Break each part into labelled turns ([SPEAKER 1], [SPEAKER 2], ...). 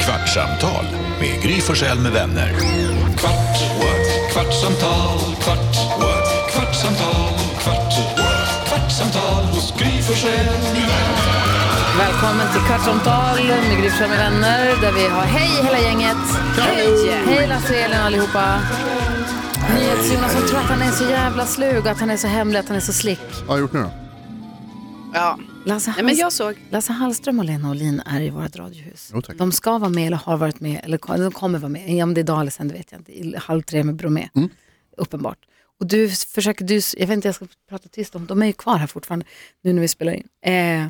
[SPEAKER 1] Kvartsamtal med Gry Forssell med vänner.
[SPEAKER 2] Kvart, what? kvartsamtal, kvart, what? kvartsamtal, kvart, what? kvartsamtal hos Gry Forssell med vänner.
[SPEAKER 3] Välkommen till Kvartsamtal med Gry Forssell med vänner där vi har hej hela gänget. Hej! Hej Lasse och Elin allihopa. NyhetsJonas som tror att han är så jävla slug, att han är så hemlig, att han är så slick.
[SPEAKER 4] Vad har jag gjort nu då?
[SPEAKER 5] Ja.
[SPEAKER 3] Lasse,
[SPEAKER 5] Nej, men
[SPEAKER 3] Hallst-
[SPEAKER 5] jag såg.
[SPEAKER 3] Lasse Hallström och Lena Olin är i vårt radiohus.
[SPEAKER 4] Jo, tack.
[SPEAKER 3] de ska vara med eller har varit med, eller ko- de kommer vara med, om det är idag eller sen det vet jag inte, I halv tre med Bromé, uppenbart. Och du s- försöker, du, s- jag vet inte jag ska prata tyst om, de är ju kvar här fortfarande nu när vi spelar in. Eh,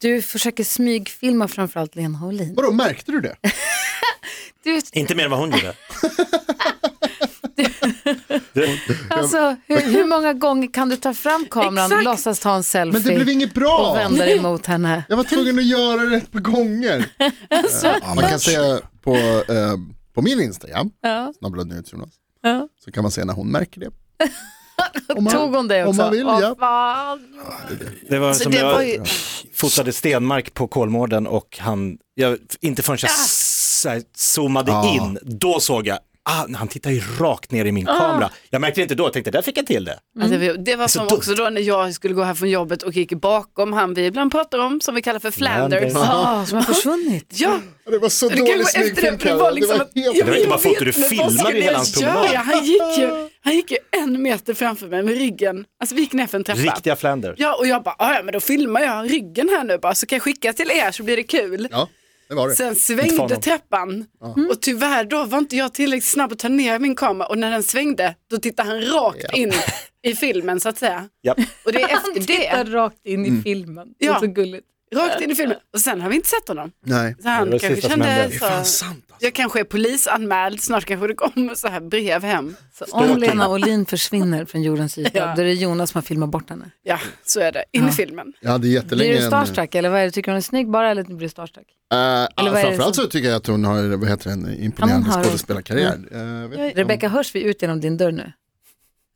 [SPEAKER 3] du försöker smygfilma framförallt Lena Olin.
[SPEAKER 4] Vadå, märkte du det?
[SPEAKER 3] Du,
[SPEAKER 6] Inte mer än vad hon gjorde.
[SPEAKER 3] alltså, hur, hur många gånger kan du ta fram kameran och
[SPEAKER 5] Exakt.
[SPEAKER 3] låtsas ta en selfie
[SPEAKER 4] Men det blev inget
[SPEAKER 3] och
[SPEAKER 4] bra!
[SPEAKER 3] vända dig mot henne?
[SPEAKER 4] Jag var tvungen att göra det ett par gånger. Eh, man kan se på, eh, på min Instagram,
[SPEAKER 3] Ja.
[SPEAKER 4] snabbladdnyhetsjonas,
[SPEAKER 3] Ja.
[SPEAKER 4] så kan man se när hon märker det.
[SPEAKER 3] Tog hon det också?
[SPEAKER 4] om man vill,
[SPEAKER 3] Åh,
[SPEAKER 4] ja.
[SPEAKER 3] fan.
[SPEAKER 6] Det var som
[SPEAKER 5] det
[SPEAKER 6] jag
[SPEAKER 5] var ju-
[SPEAKER 6] fotade Stenmark på Kolmården och han, jag, inte förrän jag s- så här zoomade
[SPEAKER 4] Ah.
[SPEAKER 6] in, då såg jag, ah, han tittar ju rakt ner i min kamera. Jag märkte inte då, jag tänkte där fick jag till det.
[SPEAKER 5] Alltså, vi- det var
[SPEAKER 6] Så
[SPEAKER 5] som
[SPEAKER 6] dumt.
[SPEAKER 5] också då när jag skulle gå här från jobbet och gick bakom han vi ibland pratar om, som vi kallar för Flanders.
[SPEAKER 6] Flanders.
[SPEAKER 3] Ah, som har försvunnit.
[SPEAKER 5] Ja,
[SPEAKER 4] Det var så
[SPEAKER 5] det kan gå efter det, för det var liksom att,
[SPEAKER 4] helt...
[SPEAKER 5] Ja,
[SPEAKER 6] var
[SPEAKER 5] men
[SPEAKER 6] inte
[SPEAKER 5] jag
[SPEAKER 6] bara foto,
[SPEAKER 5] vet,
[SPEAKER 6] du
[SPEAKER 5] men vad
[SPEAKER 6] filmade
[SPEAKER 5] skulle
[SPEAKER 6] ju hela
[SPEAKER 5] jag
[SPEAKER 6] hans promenad.
[SPEAKER 5] göra? Han gick, ju, han gick ju en meter framför mig med ryggen, alltså vi gick ner för en trappa.
[SPEAKER 6] Riktiga Flanders.
[SPEAKER 5] Ja, och jag bara, "Ah, ja men då filmar jag ryggen här nu bara, så kan jag skicka till er så blir det kul.
[SPEAKER 4] Ja, det var det.
[SPEAKER 5] Sen
[SPEAKER 6] Inte
[SPEAKER 5] svängde
[SPEAKER 6] honom.
[SPEAKER 5] trappan och tyvärr då var inte jag tillräckligt snabb att ta ner min kamera och när den svängde då tittade han rakt in i filmen så att säga.
[SPEAKER 6] Ja.
[SPEAKER 5] Och det är efter
[SPEAKER 3] tittar
[SPEAKER 5] det,
[SPEAKER 3] rakt in
[SPEAKER 4] Mm.
[SPEAKER 3] i filmen. Det är
[SPEAKER 5] Ja.
[SPEAKER 3] så gulligt.
[SPEAKER 5] rakt in i filmen och sen har vi inte sett honom.
[SPEAKER 4] Nej.
[SPEAKER 5] Så han
[SPEAKER 6] det var det
[SPEAKER 5] kanske
[SPEAKER 6] sista som hände.
[SPEAKER 5] kände
[SPEAKER 6] Det är
[SPEAKER 5] så, jag kanske är polisanmäld, snart kanske det kommer så här brev hem.
[SPEAKER 3] Så om Lena Olin försvinner från jordens yta,
[SPEAKER 5] Ja.
[SPEAKER 3] då är det Jonas som har filmat bort henne.
[SPEAKER 5] Ja, så är det, in i filmen.
[SPEAKER 4] Jag hade jättelänge...
[SPEAKER 3] Blir du
[SPEAKER 4] en-
[SPEAKER 3] starstruck eller vad är det? Tycker du hon är snygg bara eller blir du starstruck?
[SPEAKER 4] Eh,
[SPEAKER 3] vad är det
[SPEAKER 4] framförallt
[SPEAKER 3] som-
[SPEAKER 4] så tycker jag att hon har vad heter det, en imponerande
[SPEAKER 3] Ja, hon har-
[SPEAKER 4] skådespelarkarriär. Eh, vet inte om-
[SPEAKER 3] Rebecka, hörs vi ut genom din dörr nu?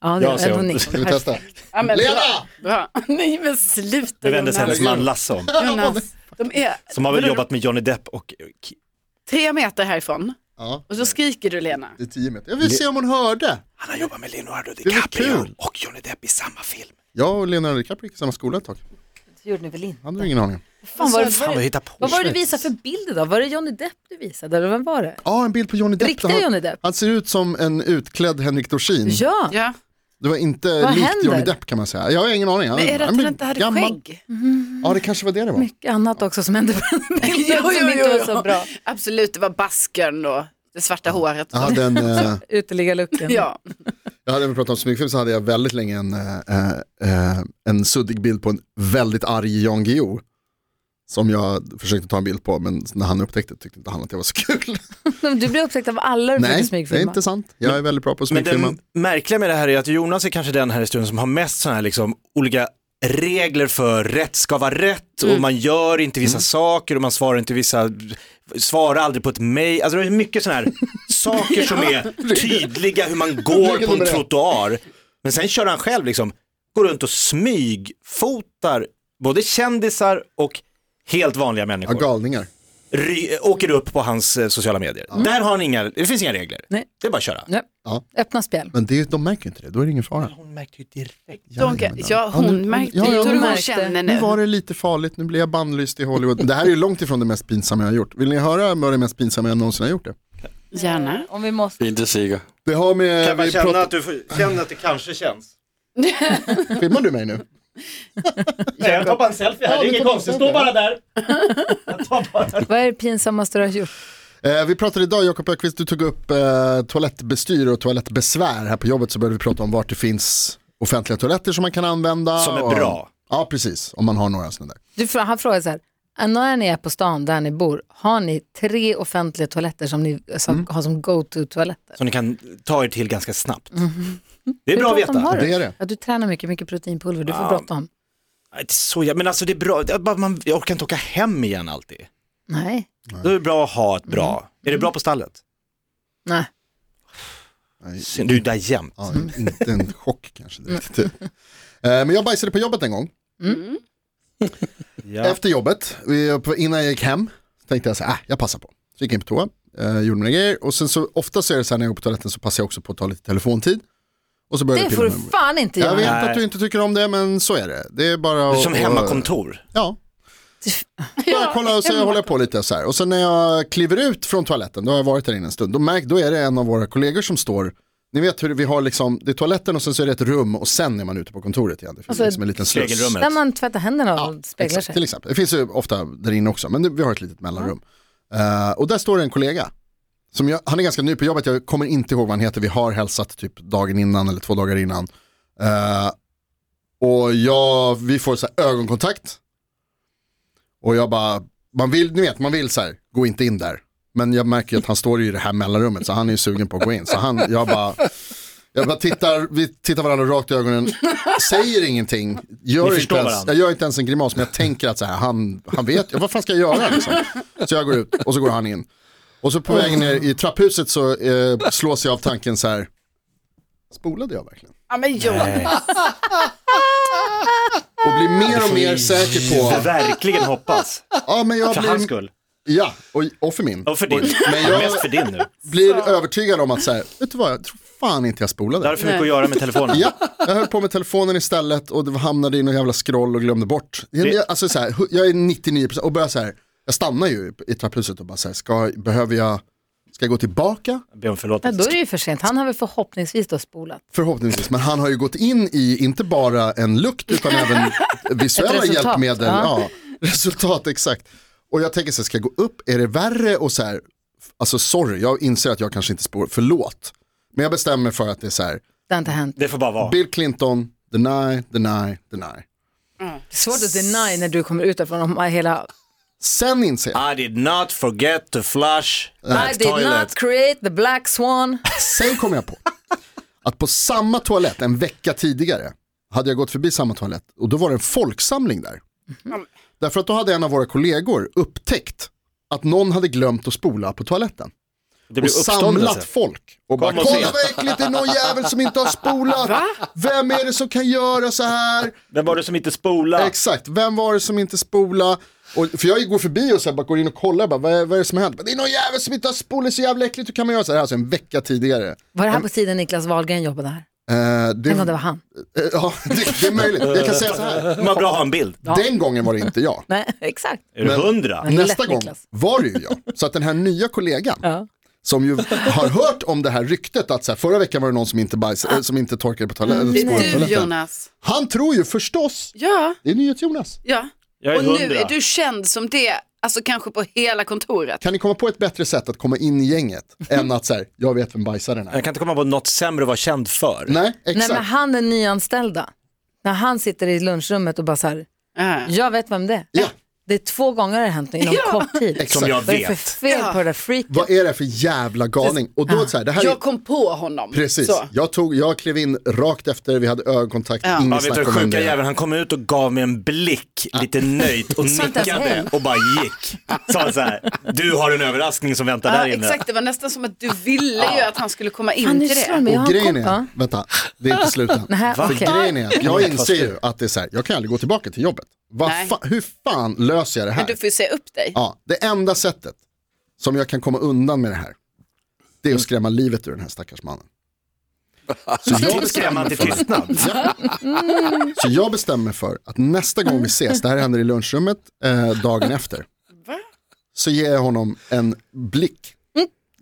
[SPEAKER 3] Ja, det
[SPEAKER 6] Ja,
[SPEAKER 3] är
[SPEAKER 6] ser
[SPEAKER 3] hon
[SPEAKER 6] hon.
[SPEAKER 3] nickar.
[SPEAKER 4] Ska vi testa?
[SPEAKER 5] Ja, men,
[SPEAKER 4] Lena!
[SPEAKER 5] bra, bra. Nej men sluta
[SPEAKER 6] Nu vände sig
[SPEAKER 5] Jonas.
[SPEAKER 6] hennes man Lasse om,
[SPEAKER 5] Jonas, de är
[SPEAKER 6] som har väl
[SPEAKER 5] vadå,
[SPEAKER 6] jobbat med Johnny Depp och eh,
[SPEAKER 5] tre meter härifrån
[SPEAKER 4] Ja,
[SPEAKER 5] och så skriker du Lena.
[SPEAKER 4] det är tio meter. Jag vill se om hon hörde.
[SPEAKER 6] han har jobbat med Leonardo
[SPEAKER 4] var kul.
[SPEAKER 6] och Johnny Depp i samma film.
[SPEAKER 4] Jag och Leonardo DiCaprio gick i samma skola ett tag.
[SPEAKER 3] Så gjorde ni väl inte?
[SPEAKER 4] Han hade ingen aning.
[SPEAKER 3] Fan, var det,
[SPEAKER 6] Fan vad jag hittar på.
[SPEAKER 3] Alltså, vad var det du visade för bild idag? Var det Johnny Depp du visade eller vem var det?
[SPEAKER 4] Ja, en bild på Johnny Depp.
[SPEAKER 3] Riktiga
[SPEAKER 4] han,
[SPEAKER 3] Johnny Depp?
[SPEAKER 4] Han ser ut som en utklädd Henrik Dorsin.
[SPEAKER 3] Ja,
[SPEAKER 5] Ja.
[SPEAKER 4] Det var inte
[SPEAKER 3] Vad
[SPEAKER 4] likt
[SPEAKER 3] händer?
[SPEAKER 4] Johnny Depp kan man säga. Jag har ingen aning.
[SPEAKER 5] Men är det att
[SPEAKER 4] han
[SPEAKER 5] han
[SPEAKER 4] blir
[SPEAKER 5] inte hade
[SPEAKER 4] gammal.
[SPEAKER 5] skägg?
[SPEAKER 4] Ja, det kanske var det det var.
[SPEAKER 3] mycket annat också som hände på den bilden som inte var så bra.
[SPEAKER 5] Absolut, det var baskern och det svarta håret.
[SPEAKER 4] Jag hade, en, eh,
[SPEAKER 3] Uteliggarlukten.
[SPEAKER 5] Ja,
[SPEAKER 4] jag hade vi pratat om smygfilm så hade jag väldigt länge en, eh, eh, en suddig bild på en väldigt arg Jan Guillou. Som jag försökte ta en bild på men när han upptäckte tyckte inte han att det var så kul.
[SPEAKER 3] Men Du blir upptäckt av alla du försöker
[SPEAKER 4] Nej, det är
[SPEAKER 3] smygfilma.
[SPEAKER 4] inte sant. Jag är väldigt bra på
[SPEAKER 6] Men
[SPEAKER 4] smygfilmen.
[SPEAKER 6] det märkliga med det här är att Jonas är kanske den här i studion som har mest sådana här liksom olika regler för rätt ska vara rätt och man gör inte vissa saker och man svarar inte vissa, svarar aldrig på ett mejl. Alltså det är mycket sådana här saker som är tydliga hur man går
[SPEAKER 4] Regel
[SPEAKER 6] på en
[SPEAKER 4] nummer ett.
[SPEAKER 6] trottoar. Men sen kör han själv liksom, går runt och smygfotar både kändisar och helt vanliga
[SPEAKER 4] Ja,
[SPEAKER 6] människor.
[SPEAKER 4] galningar.
[SPEAKER 6] Ry- åker upp på hans eh, sociala medier. Där har han inga, det finns inga regler.
[SPEAKER 3] Nej.
[SPEAKER 6] Det är bara att köra.
[SPEAKER 3] Nej.
[SPEAKER 4] Ja.
[SPEAKER 3] Öppna spjäll.
[SPEAKER 4] Men det, är- de märker inte det, då är det ingen fara.
[SPEAKER 6] Hon märkte ju
[SPEAKER 5] de,
[SPEAKER 6] direkt.
[SPEAKER 5] ja hon märkte
[SPEAKER 4] ja,
[SPEAKER 5] ja,
[SPEAKER 4] ja,
[SPEAKER 5] hon,
[SPEAKER 4] hon
[SPEAKER 5] hon
[SPEAKER 3] märkte.
[SPEAKER 5] känner
[SPEAKER 4] Nu
[SPEAKER 5] nu.
[SPEAKER 4] var det lite farligt, nu blir jag bannlyst i Hollywood. Det här är ju långt ifrån det mest pinsamma jag har gjort. Vill ni höra vad det mest pinsamma jag någonsin har gjort? Det,
[SPEAKER 5] Gärna.
[SPEAKER 3] Om vi måste.
[SPEAKER 7] Inte säker.
[SPEAKER 4] det har med...
[SPEAKER 6] Kan man
[SPEAKER 4] vi
[SPEAKER 6] känna
[SPEAKER 4] pratar-
[SPEAKER 6] att du får, känner att det kanske känns?
[SPEAKER 4] Filmar du mig nu?
[SPEAKER 6] Jag tar bara en selfie här,
[SPEAKER 4] Ja,
[SPEAKER 6] det
[SPEAKER 4] du
[SPEAKER 6] är inget
[SPEAKER 4] tar bara
[SPEAKER 6] konstigt,
[SPEAKER 4] en selfie.
[SPEAKER 6] stå bara där.
[SPEAKER 3] Vad är det pinsammaste du har gjort?
[SPEAKER 4] Eh, vi pratade idag, Jakob Ökvist, du tog upp eh, toalettbestyr och toalettbesvär här på jobbet så började vi prata om vart det finns offentliga toaletter som man kan använda.
[SPEAKER 6] Som är
[SPEAKER 4] och-
[SPEAKER 6] bra.
[SPEAKER 4] Ja, precis. Om man har några sådana där.
[SPEAKER 3] Du, frå- han frågar så här, när ni är på stan där ni bor, har ni tre offentliga toaletter som ni som,
[SPEAKER 4] Mm.
[SPEAKER 3] har som go-to-toaletter?
[SPEAKER 6] Som ni kan ta er till ganska snabbt. Det är bra
[SPEAKER 3] Hur
[SPEAKER 6] att
[SPEAKER 3] bråttom
[SPEAKER 6] veta.
[SPEAKER 3] har du?
[SPEAKER 4] Det är det.
[SPEAKER 3] Ja, du tränar mycket, mycket proteinpulver, du får bråttom.
[SPEAKER 6] Nej, det är Så jag, men alltså det är bra, det är bara man, jag orkar inte åka hem igen alltid.
[SPEAKER 3] Nej,
[SPEAKER 6] Då är det bra att ha ett bra, är det bra på stallet?
[SPEAKER 3] nej.
[SPEAKER 4] Nej,
[SPEAKER 6] Synd, Du är där jämt.
[SPEAKER 4] ja, inte en chock kanske direkt. Eh, men jag bajsade på jobbet en gång.
[SPEAKER 6] Ja.
[SPEAKER 4] "Ah, Efter jobbet, vi- innan jag gick hem, så tänkte jag så här, äh, jag passar på. Så gick jag in på toa, eh, gjorde mina grejer och sen så ofta så är det så här när jag går på toaletten så passar jag också på att ta lite telefontid. Och så börjar
[SPEAKER 3] Det
[SPEAKER 4] jag
[SPEAKER 3] får du
[SPEAKER 4] pilla med-
[SPEAKER 3] fan inte
[SPEAKER 4] Jag vet
[SPEAKER 3] göra.
[SPEAKER 6] Nej.
[SPEAKER 4] att du inte tycker om det men så är det. Det är bara att...
[SPEAKER 6] Som hemmakontor.
[SPEAKER 4] Ja. Bara kolla och så håller jag på lite så här. Och sen när jag kliver ut från toaletten, då har jag varit där inne en stund, då, märk, då är det en av våra kollegor som står ni vet hur vi har liksom, det är toaletten och sen så är det ett rum och sen är man ute på kontoret igen. Det finns
[SPEAKER 3] Alltså,
[SPEAKER 4] liksom en liten sluss.
[SPEAKER 6] Regelrummet.
[SPEAKER 3] Där man tvättar händerna och speglar
[SPEAKER 4] Exakt, till
[SPEAKER 3] sig.
[SPEAKER 4] exempel. Det finns ju ofta där inne också, men nu- vi har ett litet mellanrum. Eh, och där står det en kollega. Som jag, han är ganska ny på jobbet, jag kommer inte ihåg vad han heter, vi har hälsat typ dagen innan eller två dagar innan. Eh, och jag, vi får så här ögonkontakt. Och jag bara, man vill, ni vet, man vill så här, gå inte in där. Men jag märker ju att han står i det här mellanrummet så han är ju sugen på att gå in. Så han, jag bara, jag bara tittar, vi tittar varandra rakt i ögonen, säger ingenting,
[SPEAKER 6] Ni
[SPEAKER 4] gör inte
[SPEAKER 6] förstår
[SPEAKER 4] ens,
[SPEAKER 6] varandra.
[SPEAKER 4] jag gör inte ens en grimas men jag tänker att så här, han, han vet, ja, vad fan ska jag göra liksom? Så jag går ut och så går han in. Och så på vägen ner i trapphuset så eh, slås jag av tanken så här, spolade jag verkligen?
[SPEAKER 5] Ja, men jo.
[SPEAKER 4] Och blir mer och mer säker på,
[SPEAKER 6] Verkligen hoppas.
[SPEAKER 4] ja men jag
[SPEAKER 6] För hans
[SPEAKER 4] blir,
[SPEAKER 6] skull.
[SPEAKER 4] ja, och, och för min.
[SPEAKER 6] Och för din.
[SPEAKER 4] Men jag-
[SPEAKER 6] Mest för din nu.
[SPEAKER 4] blir övertygad om att så här, vet du vad, jag tror fan inte jag
[SPEAKER 6] Det
[SPEAKER 4] spolade.
[SPEAKER 6] har för mycket att göra med telefonen.
[SPEAKER 4] Ja, jag höll på med telefonen istället och det hamnade i någon jävla scroll och glömde bort. Jag, jag, alltså så här, hu- jag är 99% och börjar så här, jag stannar ju i trapphuset och bara så här, ska, behöver jag, ska jag gå tillbaka?
[SPEAKER 6] Be om
[SPEAKER 3] Ja, då
[SPEAKER 6] förlåtelse.
[SPEAKER 3] är det ju för sent. Han har väl förhoppningsvis då spolat.
[SPEAKER 4] Förhoppningsvis, men han har ju gått in i inte bara en lukt utan även visuella
[SPEAKER 3] Ett resultat,
[SPEAKER 4] hjälpmedel.
[SPEAKER 3] ja.
[SPEAKER 4] Ja. Resultat, exakt. Och jag tänker så här, ska jag gå upp, är det värre och så här, alltså sorry, jag inser att jag kanske inte spår, förlåt. Men jag bestämmer mig för att det är så här,
[SPEAKER 3] Det har inte hänt.
[SPEAKER 6] Det får bara vara.
[SPEAKER 4] Bill Clinton, deny, deny, deny.
[SPEAKER 3] Det är svårt att deny när du kommer ut därifrån om hela
[SPEAKER 4] Sen inser jag,
[SPEAKER 6] I did not forget to flush
[SPEAKER 3] I
[SPEAKER 6] the
[SPEAKER 3] did
[SPEAKER 6] toilet.
[SPEAKER 3] not create the black swan.
[SPEAKER 4] sen kom jag på att på samma toalett en vecka tidigare hade jag gått förbi samma toalett och då var det en folksamling där. Därför att då hade en av våra kollegor upptäckt att någon hade glömt att spola på toaletten.
[SPEAKER 6] Det
[SPEAKER 4] Och
[SPEAKER 6] blir
[SPEAKER 4] samlat
[SPEAKER 6] uppståndelse.
[SPEAKER 4] folk och bara
[SPEAKER 6] Kom och se.
[SPEAKER 4] kolla vad äckligt det är någon jävel som inte har spolat. Vem är det som kan göra så här?
[SPEAKER 6] Vem var det som inte spolade?
[SPEAKER 4] Exakt, vem var det som inte spola? Och, för jag går förbi och så här, bara går in och kollar, bara, vad, är, vad är det som har hänt? Bara, Det är någon jävel som inte har spolat, så jävla äckligt, hur kan man göra så här? Alltså en vecka tidigare.
[SPEAKER 3] Var det
[SPEAKER 6] Mm.
[SPEAKER 3] här på tiden Niklas Wahlgren jobbade här?
[SPEAKER 4] Eh, det,
[SPEAKER 3] Tänk om det var han.
[SPEAKER 4] eh, ja, det, det är möjligt, jag kan säga så här.
[SPEAKER 6] Det var bra att ha en bild.
[SPEAKER 4] Den gången var det inte jag.
[SPEAKER 3] Nej, exakt.
[SPEAKER 6] Är du hundra?
[SPEAKER 3] lätt,
[SPEAKER 4] Nästa gång
[SPEAKER 3] Niklas.
[SPEAKER 4] var det ju jag. Så att den här nya kollegan,
[SPEAKER 3] Ja.
[SPEAKER 4] som ju har hört om det här ryktet att så här, förra veckan var det någon som inte, bajs, eh, som inte torkade på toaletten.
[SPEAKER 5] Mm. Det
[SPEAKER 4] spolade på
[SPEAKER 5] är du
[SPEAKER 4] toaletten.
[SPEAKER 5] Jonas.
[SPEAKER 4] Han tror ju förstås,
[SPEAKER 5] Ja,
[SPEAKER 4] det är NyhetsJonas.
[SPEAKER 5] ja.
[SPEAKER 6] Jag är
[SPEAKER 5] Och nu
[SPEAKER 6] hundra.
[SPEAKER 5] är du känd som det, alltså kanske på hela kontoret.
[SPEAKER 4] Kan ni komma på ett bättre sätt att komma in i gänget än att så här, jag vet vem bajsaren är?
[SPEAKER 6] Jag kan inte komma på något sämre att vara känd för.
[SPEAKER 4] Nej,
[SPEAKER 3] Nej,
[SPEAKER 4] exakt.
[SPEAKER 3] men han är nyanställda. När han sitter i lunchrummet och bara så här,
[SPEAKER 5] Ja.
[SPEAKER 3] jag vet vem det är.
[SPEAKER 4] Ja.
[SPEAKER 3] Det är två gånger det har hänt inom kort tid.
[SPEAKER 4] Exakt.
[SPEAKER 6] Som jag
[SPEAKER 3] Vad är det för
[SPEAKER 6] vet.
[SPEAKER 3] fel på det där freaket?
[SPEAKER 4] Vad är det för jävla galning? Och då så här, det här är,
[SPEAKER 5] Jag kom på honom.
[SPEAKER 4] precis,
[SPEAKER 5] Så.
[SPEAKER 4] jag, tog, jag klev in rakt efter, vi hade ögonkontakt,
[SPEAKER 5] Ja.
[SPEAKER 6] Ja,
[SPEAKER 4] inget
[SPEAKER 6] vet du,
[SPEAKER 4] snack om vem
[SPEAKER 6] sjuka
[SPEAKER 4] det är.
[SPEAKER 6] jäveln, han kom ut och gav mig en blick,
[SPEAKER 5] Ah.
[SPEAKER 6] lite nöjt och
[SPEAKER 3] Sa inte ens
[SPEAKER 6] nickade
[SPEAKER 3] hej.
[SPEAKER 6] och bara gick. Sa så här, du har en överraskning som väntar
[SPEAKER 5] Ja,
[SPEAKER 6] där inne.
[SPEAKER 5] Ah, exakt, det var nästan som att du ville ju att han skulle komma in
[SPEAKER 3] Han är
[SPEAKER 5] till
[SPEAKER 3] slår
[SPEAKER 5] det.
[SPEAKER 3] mig, jag
[SPEAKER 4] Och
[SPEAKER 3] har en
[SPEAKER 4] grejen är,
[SPEAKER 3] kompa.
[SPEAKER 4] vänta, det är inte slut än.
[SPEAKER 3] Nej,
[SPEAKER 4] För
[SPEAKER 3] okej.
[SPEAKER 4] grejen är, att jag inser ju att det är så här, jag kan aldrig gå tillbaka till jobbet. Vad
[SPEAKER 5] Nej.
[SPEAKER 4] fa, hur fan löser jag det
[SPEAKER 5] Men
[SPEAKER 4] här?
[SPEAKER 5] du får ju säga upp dig.
[SPEAKER 4] Ja, det enda sättet som jag kan komma undan med det här, det är att skrämma livet ur den här stackars mannen. Så jag
[SPEAKER 6] Skrämma
[SPEAKER 4] bestämmer
[SPEAKER 6] han till
[SPEAKER 4] för
[SPEAKER 6] tystnad.
[SPEAKER 4] Ja. Så jag bestämmer mig för att nästa gång vi ses, det här händer i lunchrummet eh, dagen efter,
[SPEAKER 5] Va?
[SPEAKER 4] så ger jag honom en blick.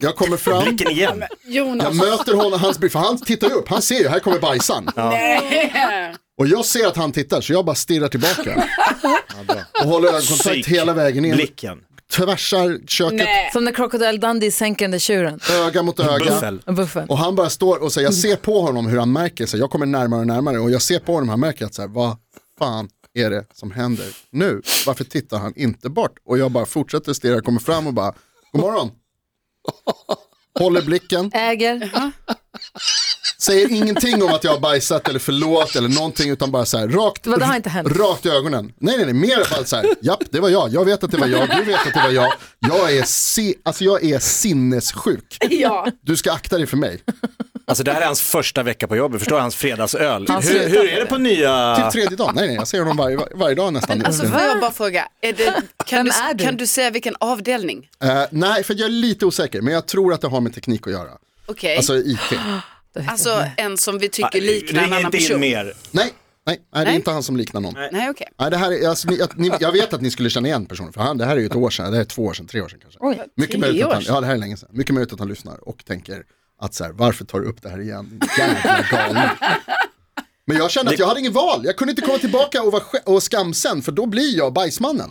[SPEAKER 4] Jag kommer fram,
[SPEAKER 6] Blicken igen.
[SPEAKER 5] Jonas.
[SPEAKER 4] jag möter honom, hans blick, för han tittar ju upp, han ser ju, här kommer bajsan. Och jag ser att han tittar, så jag bara stirrar tillbaka. Och håller ögonkontakt
[SPEAKER 6] Psyk.
[SPEAKER 4] hela vägen in,
[SPEAKER 6] Blicken.
[SPEAKER 4] tvärsar köket,
[SPEAKER 5] Nej.
[SPEAKER 3] Som när Crocodile Dundee sänker den där tjuren.
[SPEAKER 4] öga mot öga.
[SPEAKER 6] Buffel.
[SPEAKER 3] Och Buffen.
[SPEAKER 4] Och han bara står och säger, jag ser på honom hur han märker sig, jag kommer närmare och närmare och jag ser på honom, han märker att så här, vad fan är det som händer nu? Varför tittar han inte bort? Och jag bara fortsätter stirra, kommer fram och bara, god morgon. Håller blicken,
[SPEAKER 3] Äger.
[SPEAKER 4] säger ingenting om att jag har bajsat eller förlåt eller någonting utan bara så här rakt,
[SPEAKER 3] Vad, det har inte hänt?
[SPEAKER 4] rakt i ögonen. Nej nej nej, mer bara så här, japp det var jag, jag vet att det var jag, du vet att det var jag. Jag är, si- alltså jag är sinnessjuk.
[SPEAKER 5] Ja.
[SPEAKER 4] Du ska akta dig för mig.
[SPEAKER 6] Alltså det här är hans första vecka på jobbet, förstår du? Hans fredagsöl.
[SPEAKER 3] Han
[SPEAKER 6] Hur, hur är det på nya...
[SPEAKER 4] Typ tredje dagen, nej nej, jag ser honom varje, varje dag nästan. nu.
[SPEAKER 5] Alltså får jag bara fråga, är det, kan,
[SPEAKER 3] Vem
[SPEAKER 5] du,
[SPEAKER 3] är du?
[SPEAKER 5] kan du säga vilken avdelning?
[SPEAKER 4] Eh, nej, för jag är lite osäker, men jag tror att det har med teknik att göra.
[SPEAKER 5] Okej,
[SPEAKER 4] Alltså IT.
[SPEAKER 3] Då vet
[SPEAKER 5] alltså
[SPEAKER 3] jag.
[SPEAKER 5] en som vi
[SPEAKER 6] Ah,
[SPEAKER 5] tycker liknar en
[SPEAKER 6] Ring
[SPEAKER 5] annan
[SPEAKER 6] inte in
[SPEAKER 5] person.
[SPEAKER 6] mer.
[SPEAKER 4] Nej, nej, nej, det är
[SPEAKER 5] Nej.
[SPEAKER 4] inte han som liknar någon. Nej,
[SPEAKER 5] Nej okej.
[SPEAKER 4] det här är, alltså, ni, jag, ni, jag vet att ni skulle känna igen personen, för han, det här är ju ett år sedan, det här är två år sedan, tre år sedan kanske.
[SPEAKER 3] Oj.
[SPEAKER 4] Mycket
[SPEAKER 5] Tre
[SPEAKER 4] möjligt att
[SPEAKER 5] år
[SPEAKER 4] han, ja det här är länge sedan, mycket möjligt att han lyssnar och tänker att så här, varför tar du upp det här igen? Jävla galning. Men jag kände att jag hade ingen val, jag kunde inte komma tillbaka och, vara, skä- och skamsen för då blir Mm, jag bajsmannen.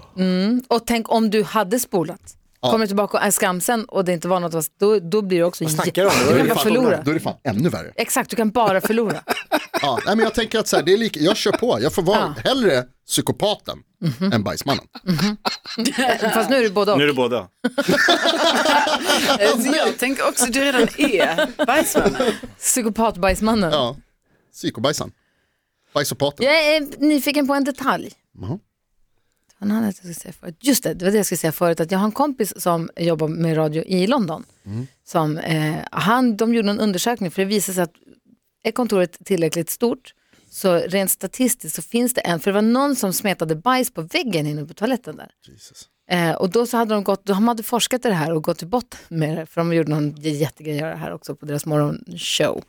[SPEAKER 3] Och tänk om du hade spolat. Kommer du tillbaka och är skamsen och det inte var något, att- då, då blir det också
[SPEAKER 6] Vad snackar du om?
[SPEAKER 3] Du
[SPEAKER 6] Det var
[SPEAKER 3] kan
[SPEAKER 6] ju
[SPEAKER 3] bara
[SPEAKER 6] fan
[SPEAKER 3] förlora.
[SPEAKER 4] Då är det fan ännu värre.
[SPEAKER 3] Exakt, du kan bara förlora.
[SPEAKER 4] Ja, nej, men jag tänker att så här, det är lika, jag kör på, jag får vara hellre psykopaten än bajsmannen.
[SPEAKER 3] Fast nu är du både och.
[SPEAKER 6] Nu är det båda.
[SPEAKER 5] Eh, Jag tänker också att du redan är bajsman.
[SPEAKER 3] Psykopatbajsmannen.
[SPEAKER 4] Ja, psykobajsan. Bajsopaten.
[SPEAKER 3] Jag är eh, nyfiken på en detalj.
[SPEAKER 4] Jaha.
[SPEAKER 3] Vad hade jag skulle säga förut? Just det, det var det jag skulle säga förut. Att jag har en kompis som jobbar med radio i London. Som, eh, han, de gjorde en undersökning för det visade sig att är kontoret tillräckligt stort så rent statistiskt så finns det en, för det var någon som smetade bajs på väggen inne på toaletten där. Eh, och då så hade de gått, de hade forskat i det här och gått till botten med det, för de gjorde någon j- jättegrej av det här också på deras morgonshow.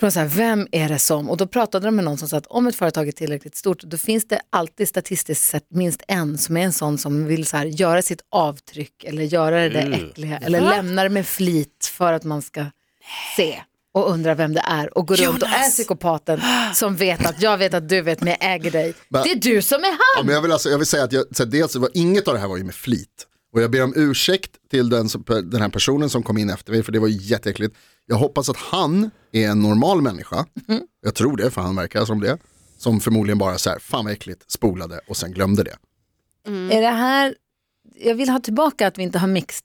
[SPEAKER 3] Från så här, vem är det som, och då pratade de med någon som sa att om ett företag är tillräckligt stort, då finns det alltid statistiskt sett minst en som är en sån som vill så här, göra sitt avtryck eller göra det där äckliga, eller lämna det med flit för att man ska se och undra vem det är och gå runt och är
[SPEAKER 5] Jonas!
[SPEAKER 3] psykopaten som vet att jag vet att du vet men jag äger dig. Det är du som är
[SPEAKER 4] Ja,
[SPEAKER 3] han!
[SPEAKER 4] men jag, vill alltså, jag vill säga att jag, så här, dels, det var, inget av det här var ju med flit. Och jag ber om ursäkt till den, som- den här personen som kom in efter mig, för det var ju jätteäckligt. Jag hoppas att han är en normal människa,
[SPEAKER 3] Mm.
[SPEAKER 4] jag tror det, för han verkar som det, som förmodligen bara så här, fan vad äckligt, spolade och sen glömde det.
[SPEAKER 6] Mm.
[SPEAKER 3] Är det här, jag vill ha tillbaka att vi inte har mixed.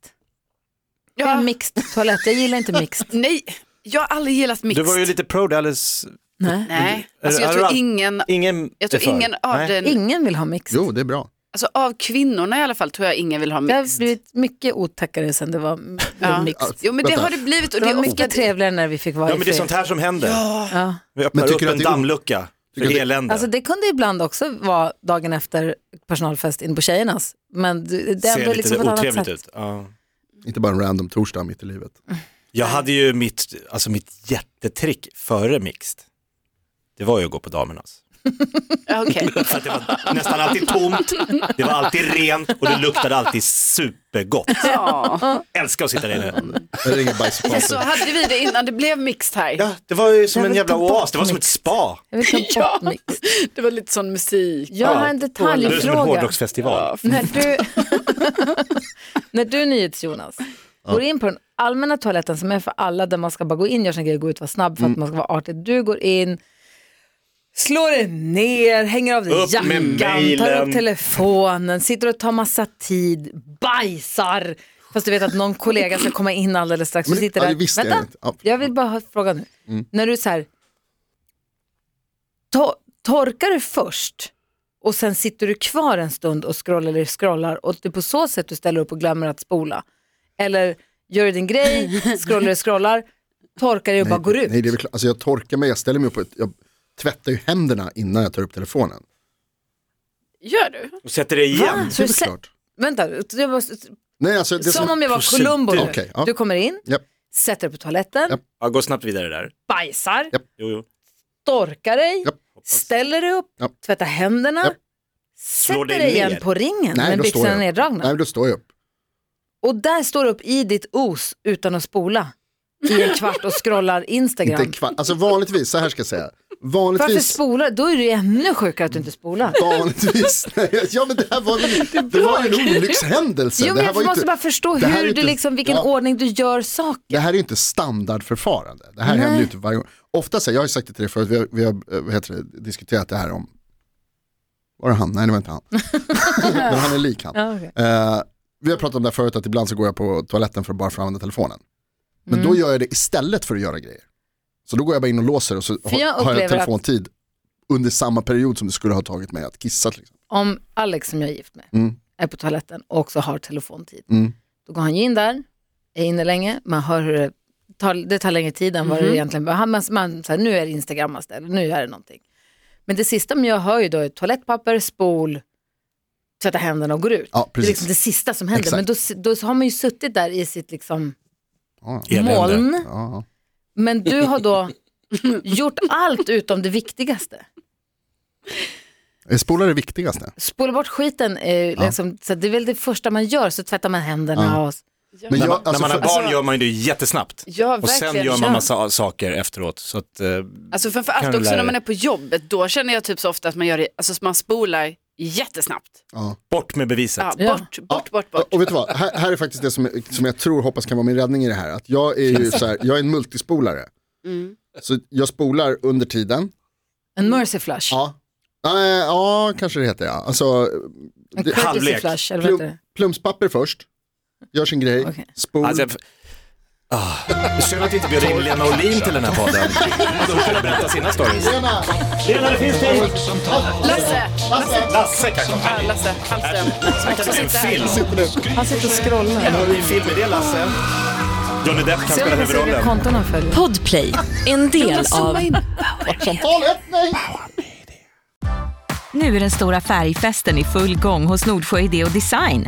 [SPEAKER 3] Jag har
[SPEAKER 5] Ja.
[SPEAKER 3] mixed toalett, jag gillar inte mixed.
[SPEAKER 5] Nej, jag har aldrig gillat
[SPEAKER 6] Du
[SPEAKER 5] mixed.
[SPEAKER 6] var ju lite pro där alldeles...
[SPEAKER 3] Nej.
[SPEAKER 5] Nej, alltså
[SPEAKER 6] Är
[SPEAKER 5] jag
[SPEAKER 6] du
[SPEAKER 5] tror
[SPEAKER 6] all-
[SPEAKER 5] ingen,
[SPEAKER 6] Ingen
[SPEAKER 5] jag tror
[SPEAKER 6] är för.
[SPEAKER 5] ingen av,
[SPEAKER 6] Nej.
[SPEAKER 5] den,
[SPEAKER 3] Ingen vill ha mixed.
[SPEAKER 4] Jo, det är bra.
[SPEAKER 5] alltså av kvinnorna i alla fall tror jag ingen vill ha
[SPEAKER 3] Det
[SPEAKER 5] mixed.
[SPEAKER 3] har blivit mycket otäckare sen det var m-
[SPEAKER 5] Ja.
[SPEAKER 3] mixed.
[SPEAKER 5] Jo men det
[SPEAKER 4] Vänta.
[SPEAKER 5] har det blivit och
[SPEAKER 3] Det
[SPEAKER 5] det är
[SPEAKER 3] var
[SPEAKER 5] ofta
[SPEAKER 3] mycket trevligare när vi fick vara
[SPEAKER 6] Ja
[SPEAKER 3] i
[SPEAKER 6] men det är
[SPEAKER 3] fred.
[SPEAKER 6] sånt här som händer.
[SPEAKER 3] Ja.
[SPEAKER 6] Vi öppnar
[SPEAKER 4] Men tycker
[SPEAKER 6] upp
[SPEAKER 4] du
[SPEAKER 6] en
[SPEAKER 4] att det är-
[SPEAKER 6] dammlucka
[SPEAKER 4] Tycker
[SPEAKER 6] för
[SPEAKER 4] du-
[SPEAKER 6] elände.
[SPEAKER 3] Alltså det kunde ibland också vara dagen efter personalfest in på tjejernas. Men det, det är
[SPEAKER 6] Ser
[SPEAKER 3] ändå
[SPEAKER 6] lite
[SPEAKER 3] liksom på ett annat
[SPEAKER 6] otrevligt
[SPEAKER 3] sätt.
[SPEAKER 6] ut. Ja.
[SPEAKER 4] Inte bara en random torsdag mitt i livet.
[SPEAKER 6] Jag hade ju mitt, alltså mitt jättetrick före mixed. Det var ju att gå på damernas.
[SPEAKER 5] Ja, okej.
[SPEAKER 6] För att det var nästan alltid tomt, det var alltid rent och det luktade alltid supergott.
[SPEAKER 5] Ja.
[SPEAKER 6] Älskar att sitta där inne.
[SPEAKER 4] Jag ringer
[SPEAKER 5] Så
[SPEAKER 4] bajsopaten.
[SPEAKER 5] hade vi det innan det blev mixed här.
[SPEAKER 6] Ja, det var ju som
[SPEAKER 3] Jag
[SPEAKER 6] en
[SPEAKER 3] vill
[SPEAKER 6] jävla
[SPEAKER 3] ta bort
[SPEAKER 6] oas, det var som ett
[SPEAKER 3] mixed.
[SPEAKER 6] spa.
[SPEAKER 3] Jag vill ta bort
[SPEAKER 5] Ja.
[SPEAKER 3] mixed.
[SPEAKER 5] Det var lite sån musik.
[SPEAKER 3] Jag har en
[SPEAKER 6] Det är som en
[SPEAKER 3] detaljfråga.
[SPEAKER 6] hårdrocksfestival.
[SPEAKER 3] När du, när du NyhetsJonas går in på den allmänna toaletten som är för alla där man ska bara gå in, göra sin grej, gå ut, vara snabb
[SPEAKER 6] Mm.
[SPEAKER 3] för att man ska vara artig. Du går in, slår dig ner, hänger av dig
[SPEAKER 6] Upp
[SPEAKER 3] jackan,
[SPEAKER 6] med
[SPEAKER 3] tar upp
[SPEAKER 6] mailen.
[SPEAKER 3] telefonen, sitter och tar massa tid, bajsar. Fast du vet att någon kollega ska komma in alldeles strax. Du
[SPEAKER 4] Men det-
[SPEAKER 3] sitter
[SPEAKER 4] ja,
[SPEAKER 3] där.
[SPEAKER 4] det visste jag
[SPEAKER 3] Vänta,
[SPEAKER 4] inte. Ja.
[SPEAKER 3] jag vill bara ha- fråga nu.
[SPEAKER 6] Mm.
[SPEAKER 3] När du så här, to- torkar du först och sen sitter du kvar en stund och scrollar eller scrollar och det är på så sätt du ställer upp och glömmer att spola. Eller gör du din grej, scrollar och scrollar, torkar dig och bara går ut.
[SPEAKER 4] Nej, det är väl klart. Alltså jag torkar mig, jag ställer mig upp och jag tvättar ju händerna innan jag tar upp telefonen.
[SPEAKER 5] Gör du?
[SPEAKER 6] Och sätter det igen.
[SPEAKER 3] Så
[SPEAKER 4] Det är
[SPEAKER 3] du
[SPEAKER 4] väl
[SPEAKER 3] se-
[SPEAKER 4] klart.
[SPEAKER 3] Vänta, jag var,
[SPEAKER 4] Nej, alltså, det är
[SPEAKER 3] som om jag var Columbo nu.
[SPEAKER 4] Okej, ja.
[SPEAKER 3] Du kommer in,
[SPEAKER 4] Japp.
[SPEAKER 3] sätter dig på toaletten,
[SPEAKER 4] Japp.
[SPEAKER 6] Ja, gå snabbt vidare där.
[SPEAKER 3] bajsar,
[SPEAKER 4] Japp.
[SPEAKER 6] Jo, jo.
[SPEAKER 3] torkar dig,
[SPEAKER 4] Japp.
[SPEAKER 3] ställer dig upp,
[SPEAKER 4] Japp.
[SPEAKER 3] tvättar händerna,
[SPEAKER 4] Japp.
[SPEAKER 3] sätter
[SPEAKER 6] dig
[SPEAKER 3] dig igen
[SPEAKER 6] ner.
[SPEAKER 3] på ringen
[SPEAKER 4] Nej,
[SPEAKER 3] med
[SPEAKER 4] då står
[SPEAKER 3] byxorna
[SPEAKER 4] jag.
[SPEAKER 3] neddragna.
[SPEAKER 4] Nej, men då står jag upp.
[SPEAKER 3] Och där står du upp i ditt os utan att spola i en kvart och scrollar
[SPEAKER 4] Inte
[SPEAKER 3] Instagram.
[SPEAKER 4] en kvart. Alltså vanligtvis, så här ska jag säga.
[SPEAKER 3] Varför
[SPEAKER 4] Vanligtvis,
[SPEAKER 3] spolar Då är det ju ännu sjukare att du inte spolar.
[SPEAKER 4] vanligtvis. Nej, ja men det här var väl, det var en olyckshändelse.
[SPEAKER 3] Jo,
[SPEAKER 4] det
[SPEAKER 3] men
[SPEAKER 4] här
[SPEAKER 3] jag
[SPEAKER 4] var ju
[SPEAKER 3] måste
[SPEAKER 4] inte,
[SPEAKER 3] bara förstå
[SPEAKER 4] det här är
[SPEAKER 3] hur
[SPEAKER 4] inte-
[SPEAKER 3] du liksom, vilken
[SPEAKER 4] ja.
[SPEAKER 3] ordning du gör saker.
[SPEAKER 4] det här är ju inte standardförfarande. Det här händer ju inte varje gång. Ofta så, här, jag har ju sagt det till dig förut, vi har, vi har eh, vad heter det, diskuterat det här om, var det han? Nej det var inte han. men han är lik han.
[SPEAKER 3] Ja, okej.
[SPEAKER 4] Eh, vi har pratat om det här förut, att ibland så går jag på toaletten för att bara få använda telefonen. Men
[SPEAKER 3] Mm.
[SPEAKER 4] då gör jag det istället för att göra grejer. Så då går jag bara in och låser och så har-
[SPEAKER 3] jag
[SPEAKER 4] har
[SPEAKER 3] upplever
[SPEAKER 4] jag
[SPEAKER 3] att-
[SPEAKER 4] telefontid under samma period som det skulle ha tagit mig att kissa. till exempel.
[SPEAKER 3] Om Alex som jag är gift med
[SPEAKER 4] Mm.
[SPEAKER 3] är på toaletten och också har telefontid,
[SPEAKER 4] Mm.
[SPEAKER 3] då går han ju in där, är inne länge, man hör hur det tar, det tar längre tid än vad det egentligen behöver. Man, man, så här, nu är det Instagrammas där, nu är det någonting. Men det sista jag hör ju då är toalettpapper, spol, tvätta händerna och går ut.
[SPEAKER 4] Ja,
[SPEAKER 3] det är
[SPEAKER 4] precis.
[SPEAKER 3] liksom det sista som händer.
[SPEAKER 4] Exakt.
[SPEAKER 3] Men då, s- då har man ju suttit där i sitt liksom
[SPEAKER 4] Ja,
[SPEAKER 6] Elände.
[SPEAKER 3] moln.
[SPEAKER 4] ja.
[SPEAKER 3] Men du har då gjort allt utom det viktigaste.
[SPEAKER 4] Är Spolar det viktigaste.
[SPEAKER 3] Spola bort skiten, är ju liksom, så att det är väl det första man gör, så tvättar man händerna.
[SPEAKER 4] Ja.
[SPEAKER 3] Och,
[SPEAKER 4] Men
[SPEAKER 6] När
[SPEAKER 4] jag,
[SPEAKER 6] man,
[SPEAKER 4] alltså,
[SPEAKER 6] när man har
[SPEAKER 4] för-
[SPEAKER 6] barn
[SPEAKER 5] alltså-
[SPEAKER 6] gör man ju det jättesnabbt.
[SPEAKER 5] Ja,
[SPEAKER 6] Och
[SPEAKER 5] verkligen.
[SPEAKER 6] sen gör
[SPEAKER 5] Ja.
[SPEAKER 6] man massa saker efteråt. Så att, eh,
[SPEAKER 5] Alltså framförallt
[SPEAKER 6] Kan du
[SPEAKER 5] också
[SPEAKER 6] lära
[SPEAKER 5] när man
[SPEAKER 6] dig?
[SPEAKER 5] är på jobbet, då känner jag typ så ofta att man gör det, alltså man spolar jättesnabbt.
[SPEAKER 4] ja.
[SPEAKER 6] bort med beviset.
[SPEAKER 5] Ja,
[SPEAKER 3] Ja.
[SPEAKER 5] bort, bort, bort, bort.
[SPEAKER 4] Och vet du vad, här, här är faktiskt det som, som jag tror hoppas kan vara min räddning i det här. Att jag är ju så här, jag är en multispolare.
[SPEAKER 3] Mm.
[SPEAKER 4] Så jag spolar under tiden.
[SPEAKER 3] en mercy flush.
[SPEAKER 4] Ja, Nej, ja kanske det heter ja. Alltså,
[SPEAKER 3] en
[SPEAKER 4] det-
[SPEAKER 3] courtesy
[SPEAKER 6] halvlek.
[SPEAKER 3] flush, eller vad heter
[SPEAKER 4] plum,
[SPEAKER 3] det?
[SPEAKER 4] plumspapper först, gör sin grej,
[SPEAKER 3] Okej.
[SPEAKER 4] spol.
[SPEAKER 6] Alltså, jag- ah, synd att vi inte bjöd in Lena Olin till den här podden. Hade hon kunnat berätta sina stories?
[SPEAKER 4] Tjena!
[SPEAKER 6] Lena, det finns tid!
[SPEAKER 5] Lasse,
[SPEAKER 6] Lasse kanske.
[SPEAKER 5] ja, Lasse Hallström.
[SPEAKER 6] Han kanske ser en film.
[SPEAKER 3] Han sitter och scrollar.
[SPEAKER 6] Har du en film med det Lasse? Johnny Depp kan
[SPEAKER 3] Se
[SPEAKER 6] spela
[SPEAKER 3] om hans egna
[SPEAKER 6] huvudrollen.
[SPEAKER 3] konton han följer.
[SPEAKER 7] Podplay, en del av...
[SPEAKER 4] Talet, nej!
[SPEAKER 7] Nu är den stora färgfesten i full gång hos Nordsjö Idé och Design.